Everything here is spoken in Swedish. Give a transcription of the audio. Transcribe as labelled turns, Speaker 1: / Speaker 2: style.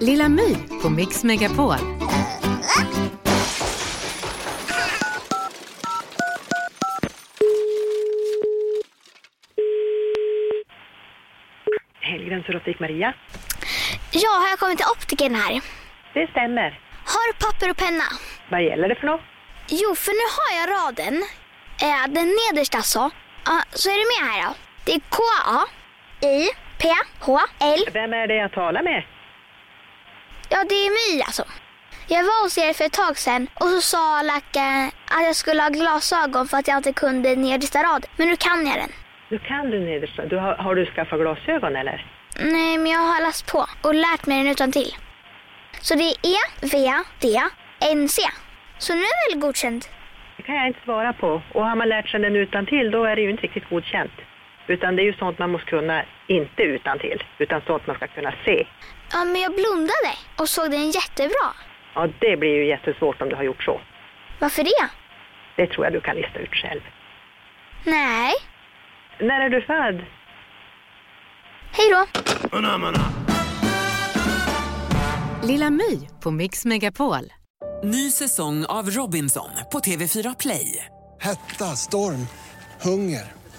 Speaker 1: Lilla My på Mix Megapol.
Speaker 2: Helgrens Erotik Maria.
Speaker 3: Ja, har jag kommit till optiken här?
Speaker 2: Det stämmer.
Speaker 3: Har du papper och penna?
Speaker 2: Vad gäller det för något?
Speaker 3: Jo, för nu har jag raden. Eh, den nedersta så. Ja, så är du med här då. Det är K-A-I-P-H-L.
Speaker 2: Vem är det jag talar med?
Speaker 3: Ja, det är My alltså. Jag var hos er för ett tag sedan och så sa läkaren att jag skulle ha glasögon för att jag inte kunde nedersta raden. Men nu kan jag den.
Speaker 2: Nu kan du nedersta. Du har, har du skaffat glasögon eller?
Speaker 3: Nej, men jag har läst på och lärt mig den utan till. Så det är E, V, D, N, C. Så nu är väl godkänd?
Speaker 2: Det kan jag inte svara på. Och har man lärt sig den utan till då är det ju inte riktigt godkänt. Utan det är ju sånt man måste kunna, inte utan till, utan sånt man ska kunna se.
Speaker 3: Ja, men jag blundade och såg den jättebra.
Speaker 2: Ja, det blir ju jättesvårt om du har gjort så.
Speaker 3: Varför det?
Speaker 2: Det tror jag du kan lista ut själv.
Speaker 3: Nej.
Speaker 2: När är du född?
Speaker 3: Hej då.
Speaker 1: Lilla My på Mix Megapol.
Speaker 4: Ny säsong av Robinson på TV4 Play.
Speaker 5: Hetta, storm, hunger.